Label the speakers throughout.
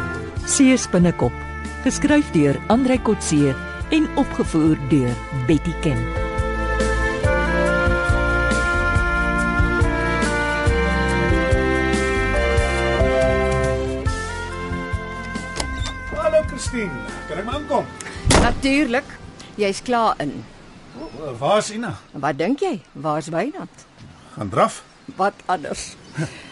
Speaker 1: Kotse se binnekop, geskryf deur Andrei Kotse en opgevoer deur Betty Ken.
Speaker 2: Hallo Christine, kan ek maar aankom?
Speaker 3: Natuurlik. Jy's klaar in.
Speaker 2: Uh, Waar is Ina?
Speaker 3: Wat dink jy? Waar's Wynand?
Speaker 2: Gaan draf?
Speaker 3: Wat anders?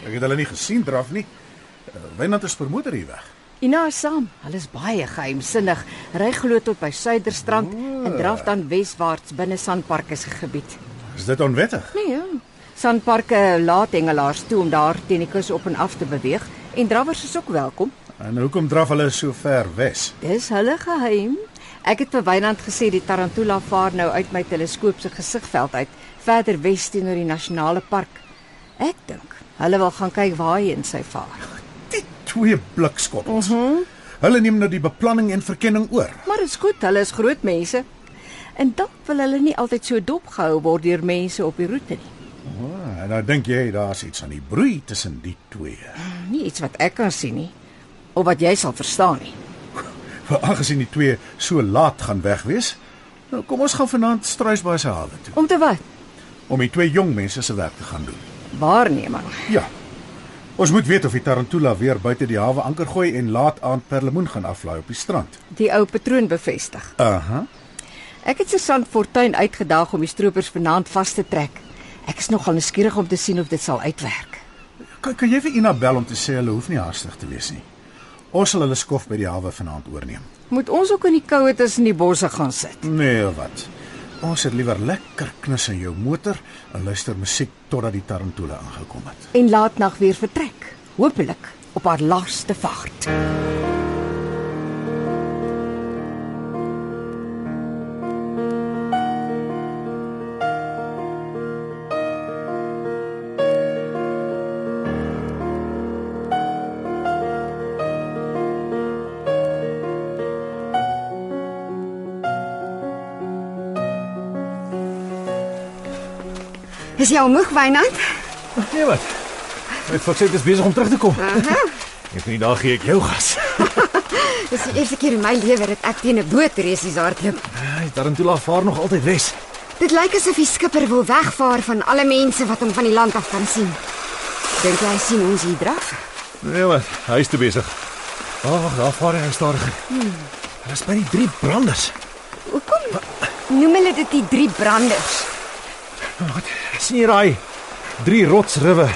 Speaker 2: Ek het hulle nie gesien draf nie. Uh, Wynand is vermoeder hier weg.
Speaker 3: Ina is saam. Hulle is baie geheimsinnig. Ry glo tot by Suiderstrand en draf dan weswaarts binne Sandparke se gebied.
Speaker 2: Is dit onwettig?
Speaker 3: Nee ja. Sandparke laat hengelaars toe om daar teen die kus op en af te beweeg en drawers is ook welkom.
Speaker 2: En hoekom draf hulle so ver wes?
Speaker 3: Dis hulle geheim. Ek het vir Wynand gesê die tarantula vaar nou uit my teleskoop se gesigveld uit, verder wes teenoor die nasionale park. Ek dink hulle wil gaan kyk waarheen sy vaar.
Speaker 2: Die twee blikskoppels. Uh -huh. Hulle neem nou die beplanning en verkenning oor.
Speaker 3: Maar dit is goed, hulle is groot mense. En dalk wil hulle nie altyd so dop gehou word deur mense op die roete nie.
Speaker 2: Oh, en nou dink jy daar's iets aan die broei tussen die twee.
Speaker 3: Nie iets wat ek kan sien nie of wat jy sal verstaan nie.
Speaker 2: Maar aangesien die twee so laat gaan weg wees, nou kom ons gaan vanaand struisbaai se hawe toe
Speaker 3: Om te wat?
Speaker 2: om die twee jong mense se werk te gaan doen.
Speaker 3: Waarneming.
Speaker 2: Ja. Ons moet weet of die Tarantula weer buite die hawe anker gooi en laat aand perlemoen gaan aflaai op die strand.
Speaker 3: Die ou patroon bevestig.
Speaker 2: Aha. Uh -huh.
Speaker 3: Ek het Susan Fortuin uitgedaag om die stroopers vanaand vas te trek. Ek is nogal nuuskierig om te sien of dit sal uitwerk.
Speaker 2: Kan, kan jy vir Ina bel om te sê hulle hoef nie haastig te wees nie. Ons sal hulle skof by die hawe vanaand oorneem.
Speaker 3: Moet ons ook in die koue tussen die bosse gaan sit.
Speaker 2: Nee, wat? Ons het liewer lekker knus in jou motor en luister musiek totdat die tarantula aangekom het.
Speaker 3: En laat nag weer vertrek. Hoopelik op haar laaste vaart.
Speaker 4: Is jy al moeg, Wynand?
Speaker 5: Nee wat? Dit faksie is besig om terug te kom. Ek van die dag gee ek jou gas.
Speaker 4: Dis die eerste keer in my lewe dat ek teen 'n bootresies hardloop.
Speaker 5: Hy Tarantula vaar nog altyd wes.
Speaker 4: Dit lyk asof die skipper wil wegvaar van alle mense wat hom van die land af kan sien. Dink jy hy sien ons hier draf?
Speaker 5: Nee wat? Hy is te besig. Ag, daar vaar hy nou stadiger. Hulle is by die drie branders.
Speaker 4: Hoekom noem hulle dit die drie branders?
Speaker 5: Wat? Sien jy daai drie rotsriwe?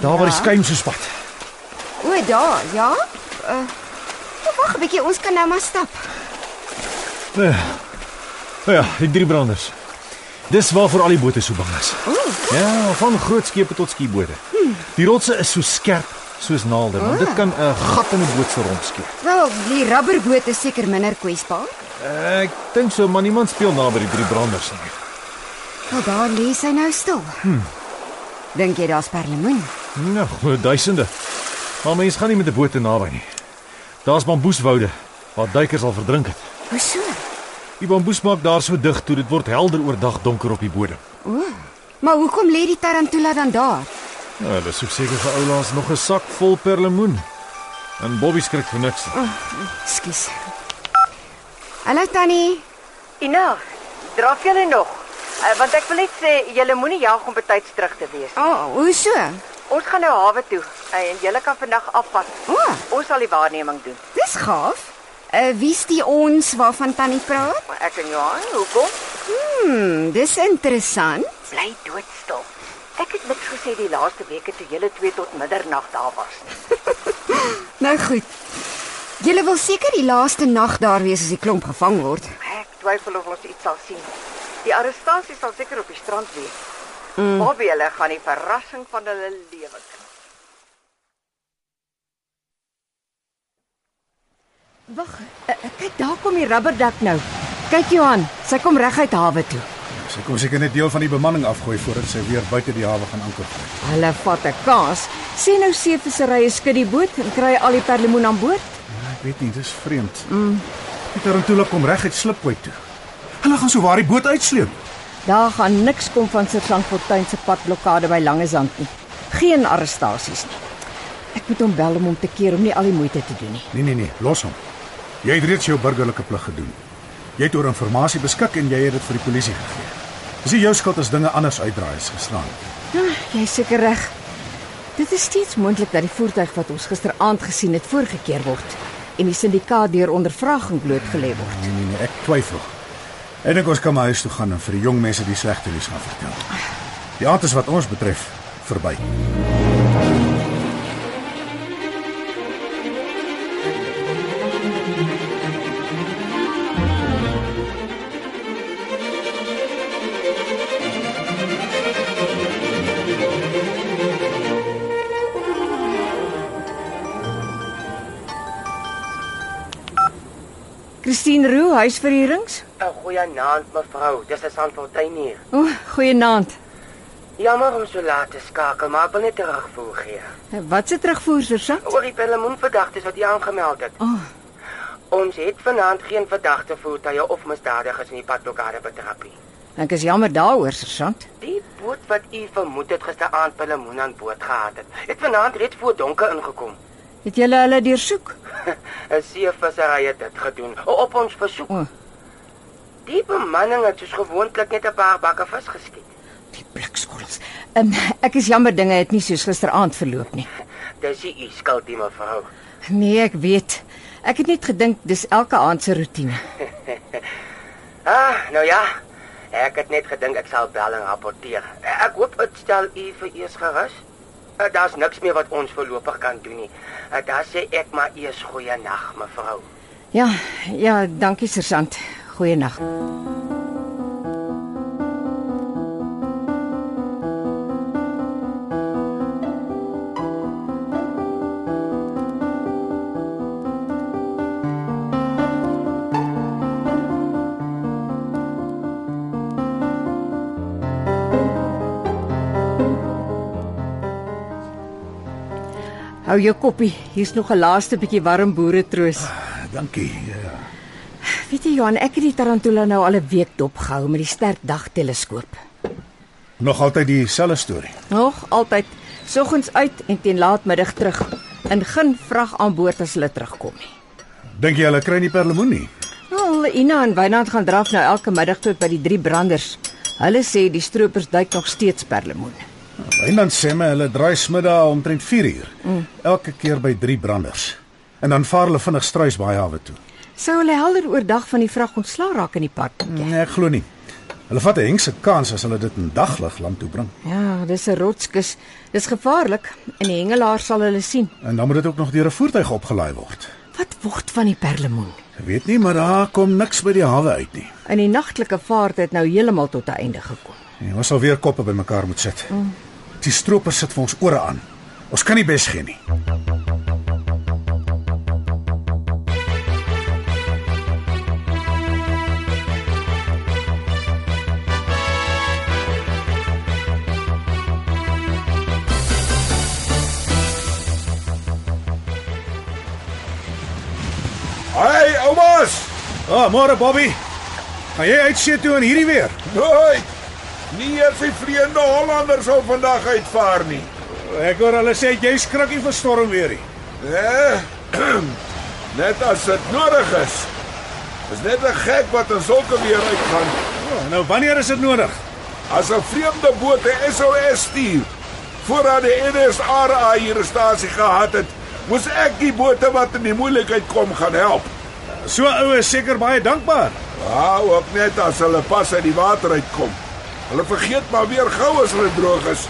Speaker 5: Daar waar die skuim so spat.
Speaker 4: O, daar, ja. Uh, wag 'n bietjie, ons kan nou maar stap.
Speaker 5: Nou ja. Nou ja, die drie branders. Dis waarvoor al die bote so bang is.
Speaker 4: Ooh.
Speaker 5: Ja, van groot skepe tot skiebote. Die rotse is so skerp soos naalde, want dit kan 'n gat in 'n boot se romp skiet.
Speaker 4: Wel, die rubberboot is seker minder kwesbaar.
Speaker 5: Ek dink so, maar niemand speel naby die drie branders nie.
Speaker 4: Maar daar lê sy nou stil. Hm. Dink jy daar's perlemoen?
Speaker 5: Nou, duisende. Maar mense gaan nie met 'n boot te naby nie. Daar's bamboeswoude waar duikers al verdrink het.
Speaker 4: Hoe so?
Speaker 5: Die bamboes maak daar so dig toe dit word helder oordag donker op die bodem.
Speaker 4: O. Maar hoekom lê die tarantula dan daar?
Speaker 5: Nou, hulle soek seker vir oulaas nog 'n sak vol perlemoen. En Bobby skrik vir niks.
Speaker 2: Ah.
Speaker 4: Skus. Hallo Tannie.
Speaker 3: Ina, draf julle nog? Uh, want ek wil net sê julle moenie jag om betyds terug te wees.
Speaker 4: O, oh, hoe so?
Speaker 3: Ons gaan nou hawe toe uh, en julle kan vandag afpas.
Speaker 4: O, oh,
Speaker 3: Ons sal die waarneming doen.
Speaker 4: dis gaaf. Uh, Wie's die ons waarvan Tannie praat?
Speaker 3: Maar ek en Johan, hoekom?
Speaker 4: Hmm, dis interessant.
Speaker 3: Bly doodstil. Ek het niks gesê die laaste weke toe julle twee tot middernag daar was nie.
Speaker 4: Nou goed. Julle wil seker die laaste nag daar wees as die klomp gevang word.
Speaker 3: Ek twyfel of ons iets sal sien. Die arrestasie sal seker op die strand wees.
Speaker 6: Hmm.
Speaker 3: Mm. Bobby hulle gaan die verrassing van hulle lewe kry.
Speaker 4: Wag,
Speaker 3: eh,
Speaker 4: uh, uh, kyk daar kom die rubberdak nou. Kyk Johan, sy kom reguit hawe toe.
Speaker 2: Sy kom seker net deel van die bemanning afgooi voordat sy weer buite die hawe gaan anker gooi.
Speaker 3: Hulle vat 'n kaas. Sê nou seevisserye skid die boot en kry al die perlemoen aan boord.
Speaker 2: Ek weet nie, dis vreemd. Mm. Die tarantula kom reguit slipkooi toe. Hulle gaan sou waar die boot uitsleep.
Speaker 3: Daar gaan niks kom van Sirklan Fortuin se padblokkade by Langezand nie. Geen arrestasies nie. Ek moet hom bel om hom te keer om nie al die moeite te doen nie.
Speaker 2: Nee nee nee, los hom. Jy het reeds jou burgerlike plig gedoen. Jy het oor inligting beskik en jy het dit vir die polisie gegee. Dis nie jou skuld as dinge anders uitdraai is geslaan.
Speaker 3: Ah, jy is seker reg. Dit is steeds moontlik dat die voertuig wat ons gisteraand gesien het voorgekeer word en die syndikaat deur ondervraging blootgelê word.
Speaker 2: Nee nee nee, ek twyfel. Ek dink ons kan maar huis toe gaan en vir die jong mense die slegte nuus gaan vertel. Die aand is wat ons betref verby.
Speaker 3: Christine Roo, huisverhuurings?
Speaker 6: Uh, Goeienaand mevrou, dis die Sandfontein hier.
Speaker 3: O, oh, goeienaand.
Speaker 6: Jammer om so laat te skakel, maar ek wil net terugvoer gee.
Speaker 3: Wat se terugvoer, sergeant?
Speaker 6: Oor die perlemoenverdagtes wat jy aangemeld het.
Speaker 3: O, oh,
Speaker 6: Ons het vanaand geen verdagte voertuie of misdadigers in die padblokkade betrap nie.
Speaker 3: ek is jammer daaroor, sergeant.
Speaker 6: Die boot wat u vermoed het gisteraand perlemoen aan boord gehad het, het vanaand reeds voor donker ingekom.
Speaker 3: Het julle hulle deursoek?
Speaker 6: 'n Seevissery het dit gedoen op ons versoek.
Speaker 3: O.
Speaker 6: Die bemanning het soos gewoonlik net 'n paar bakke vis geskiet.
Speaker 3: Die blikskottels. Um, ek is jammer dinge het nie soos gisteraand verloop nie.
Speaker 6: Dis nie u skuld nie mevrou.
Speaker 3: Nee, ek weet. Ek het net gedink dis elke aand se roetine.
Speaker 6: Ah, nou ja. Ek het net gedink ek sal bel en rapporteer. Ek hoop dit stel u vir eers gerus. Eh, Daar's niks meer wat ons voorlopig kan doen nie. Eh, Daar sê ek maar eers goeie nag, mevrou.
Speaker 3: Ja, ja, dankie sergeant. Goeienaand. Hou jou koppie. Hier's nog 'n laaste bietjie warm boere troos.
Speaker 2: Dankie. Ja.
Speaker 3: Weet jy Johan, ek het die tarantula nou al 'n week dopgehou met die sterk dagteleskoop.
Speaker 2: Nog altyd dieselfde storie.
Speaker 3: Nog altyd soggens uit en teen laatmiddag terug. In geen vrag aan boord as hulle terugkom nie.
Speaker 2: Dink jy hulle kry nie perlemoen nie?
Speaker 3: Wel, Ina en Wynand gaan draf nou elke middag tot by die drie branders. Hulle sê die stroopers duik nog steeds perlemoen.
Speaker 2: Wynand sê my hulle draai smiddag omtrent 4 uur. Elke keer by 3 branders. En dan vaar hulle vinnig struis baie hawe toe.
Speaker 3: Sou hulle helder oordag van die vrag ontslaa raak in die park?
Speaker 2: Nee, ek glo nie. Hulle vat 'n hengse kans as hulle dit in daglig land toe bring.
Speaker 3: Ja, dis 'n rotskus. Dis gevaarlik en die hengelaar sal hulle sien.
Speaker 2: En dan moet dit ook nog deur 'n voertuig opgelaai word.
Speaker 3: Wat word van die perlemoen?
Speaker 2: Ek weet nie, maar daar kom niks by die hawe uit nie.
Speaker 3: In die nagtelike vaart het nou heeltemal tot 'n einde gekom.
Speaker 2: Nee, ons sal weer koppe bymekaar moet sit. Die stroopers sit vir ons ore aan. Ons kan nie bes gee nie.
Speaker 5: Hey, oumas!
Speaker 2: Ah, oh, môre Bobby. Gaan jy uitsee toe in hierdie weer?
Speaker 7: Nooit. Nie eers die vreemde Hollanders sal vandag uitvaar nie.
Speaker 2: Ek hoor hulle sê jy skrikkie vir storm weer nie.
Speaker 7: Hè? Net as dit nodig is. Dis net 'n gek wat in sulke weer uitgaan.
Speaker 2: Oh, nou wanneer is dit nodig?
Speaker 7: As 'n vreemde boot 'n SOS stuur. Voordat die NSRA hier 'n stasie gehad het, moes ek die bote wat in die moeilikheid kom gaan help.
Speaker 2: So ou is seker baie dankbaar.
Speaker 7: Ah, ook net as hulle pas uit die water uitkom. Hulle vergeet maar weer gou as hulle droog is.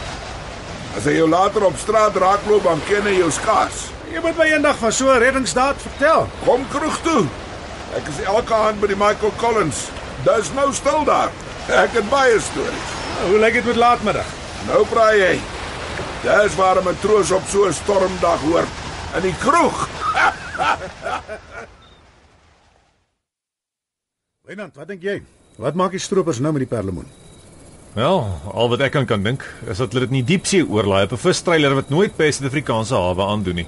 Speaker 7: As hy jou later op straat raakloop, dan ken hy jou skaars.
Speaker 2: Jy moet my eendag van so 'n reddingsdaad vertel.
Speaker 7: Kom kroeg toe. Ek is elke aand by die Michael Collins. Daar's nou stil daar. Ek het baie stories.
Speaker 2: Hoe lyk dit met laatmiddag?
Speaker 7: Nou praai jy. Dis waar 'n matroos op so 'n stormdag hoort in die kroeg.
Speaker 2: Wynand, wat dink jy? Wat maak die stroopers nou met die perlemoen?
Speaker 5: Wel, al wat ek aan kan dink is dat hulle dit nie diepsee oorlaai op 'n vistreiler wat nooit by 'n Suid-Afrikaanse hawe aandoen nie.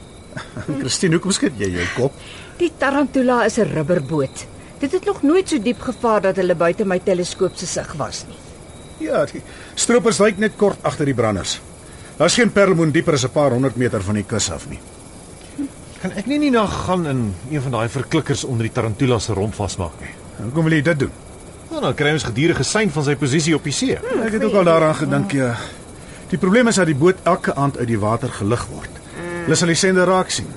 Speaker 2: Christine, hoekom skud jy jou kop?
Speaker 3: Die tarantula is 'n rubberboot. Dit het nog nooit so diep gevaar dat hulle buite my teleskoop se sig was nie.
Speaker 2: Ja, die stroopers lyk net kort agter die branders.
Speaker 7: Daar's geen perlemoen dieper as 'n paar honderd meter van die kus af nie.
Speaker 2: Kan ek nie nie na gaan in een van daai verklikkers onder die tarantula se romp vasmaak nie.
Speaker 7: Hoekom wil jy dit doen?
Speaker 2: Nou, dan kry ons gedurende sein van sy posisie op die see.
Speaker 7: Ek het ook al daaraan gedink, ja. Die probleem is dat die boot elke aand uit die water gelig word. Hulle sal die sender raak sien.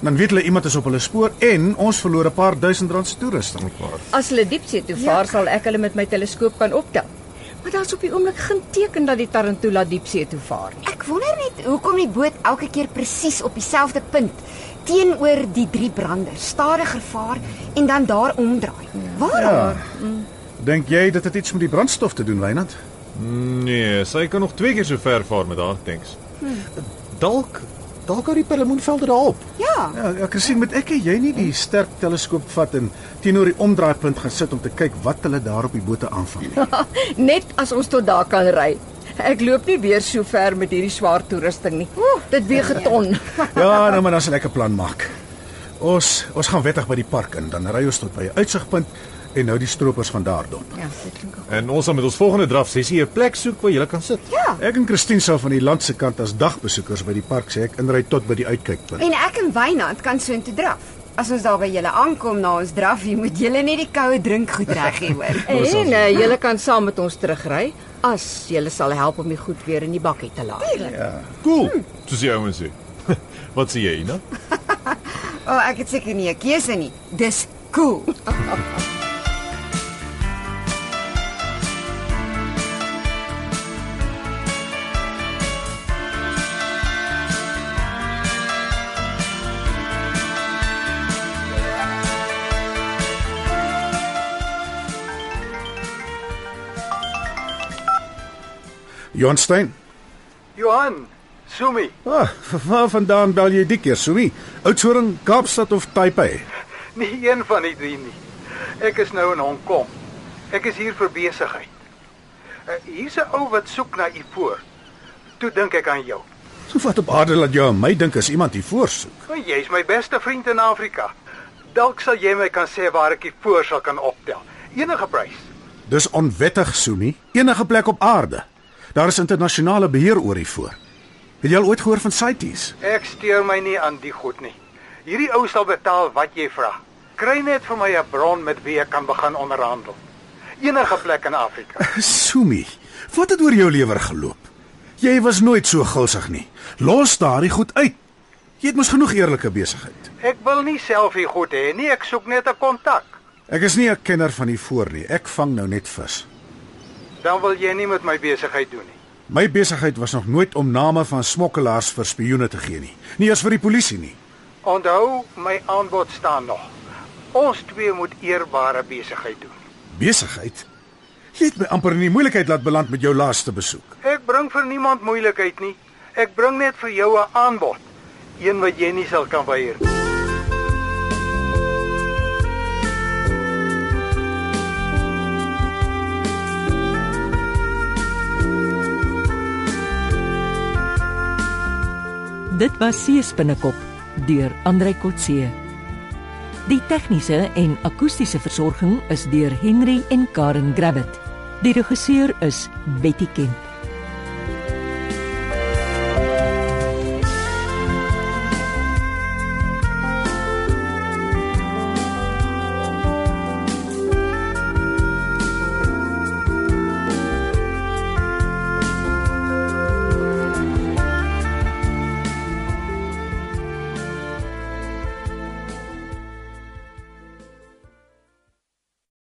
Speaker 7: Dan weet hulle iemand is op hulle spoor en ons verloor 'n paar duisend rand se toerusting.
Speaker 3: As hulle diepsee
Speaker 4: Ja.
Speaker 3: toe vaar, sal ek hulle met my teleskoop kan optel. Maar daar's op die oomblik geen teken dat die Tarantula diepsee toe vaar nie.
Speaker 4: Ek wonder net hoekom die boot elke keer presies op dieselfde punt teenoor die drie brander stadiger vaar en dan daar omdraai. Waarom?
Speaker 7: Ja. Dink jy dit het iets met die brandstof te doen, Wynand?
Speaker 5: Hm,
Speaker 2: Nee, sy kan nog twee keer so ver vaar met haar tanks. Hm. Dalk dalk uit die perlemoenvelde daarop.
Speaker 4: Ja.
Speaker 7: Ja, ek gesien met ek en jy nie die sterk teleskoop vat en teenoor die omdraaipunt gaan sit om te kyk wat hulle daar op die bote aanvang nie.
Speaker 3: Net as ons tot daar kan ry. Ek loop nie weer so ver met hierdie swaar toerusting nie. Oeh, dit weeg 'n ton.
Speaker 7: Ja, nou maar dan sal ek 'n plan maak. Ons ons gaan wettig by die park in, dan ry ons tot by 'n uitsigpunt en nou die stroopers van daar dop.
Speaker 3: Ja, dit klink ook.
Speaker 2: En ons sal met ons volgende draf sessie 'n plek soek waar jy kan sit.
Speaker 4: Ja.
Speaker 7: Ek en Christine sal van die land se kant as dagbesoekers by die park sê ek inry tot by die uitkykpunt.
Speaker 4: En ek en Wynand kan soontoe draf. As ons daar by julle aankom na ons drafie, moet julle net die koue drink goed reg hê hoor.
Speaker 3: En uh, julle kan saam met ons terugry as julle sal help om die goed weer in die bakkie te laai.
Speaker 2: Cool. Soos die ouens sê. Wat sê jy, nou?
Speaker 4: O, oh, ek het seker nie 'n keuse nie. Dis cool.
Speaker 7: Johan Stein.
Speaker 6: Johan, Sumi,
Speaker 7: Ah, waar vandaan bel jy die keer, Sumi? Oudtshoorn, Kaapstad of Taipei?
Speaker 6: nie een van die drie nie. Ek is nou in Hong Kong. Ek is hier vir besigheid. Uh, hier's 'n ou wat soek na ivoor. Toe dink ek aan jou.
Speaker 7: So wat op aarde laat jou en my dink as iemand hier voorsoek.
Speaker 6: Want jy's my beste vriend in Afrika. Dalk sal jy my kan sê waar ek ivoor sal kan optel. Enige prys.
Speaker 7: Dis onwettig, Sumi. Enige plek op aarde. Daar is internasionale beheer oor hier voor. Het jy al ooit gehoor van CITES?
Speaker 6: Ek steur my nie aan die goed nie. Hierdie ou sal betaal wat jy vra. Kry net vir my 'n bron met wie ek kan begin onderhandel. Enige plek in Afrika.
Speaker 7: Sumi, wat het oor jou lewer geloop? Jy was nooit so gulsig nie. Los daardie goed uit. Jy het mos genoeg eerlike besigheid.
Speaker 6: Ek wil nie self hier goed hê nie, ek soek net 'n kontak.
Speaker 7: Ek is nie 'n kenner van die voor nie. Ek vang nou net vis.
Speaker 6: Dan wil jy nie met my besigheid doen nie.
Speaker 7: My besigheid was nog nooit om name van smokkelaars vir spioene te gee nie. Nie eens vir die polisie nie.
Speaker 6: Onthou, my aanbod staan nog. Ons twee moet eerbare besigheid doen.
Speaker 7: Besigheid? Jy het my amper in die moeilikheid laat beland met jou laaste besoek.
Speaker 6: Ek bring vir niemand moeilikheid nie. Ek bring net vir jou 'n aanbod, een wat jy nie sal kan weier nie.
Speaker 1: Dit was Seespinnekop deur Andrei Kotse. Die tegniese en akoestiese versorging is deur Henry en Karen Gravett. Die regisseur is Betty Kemp.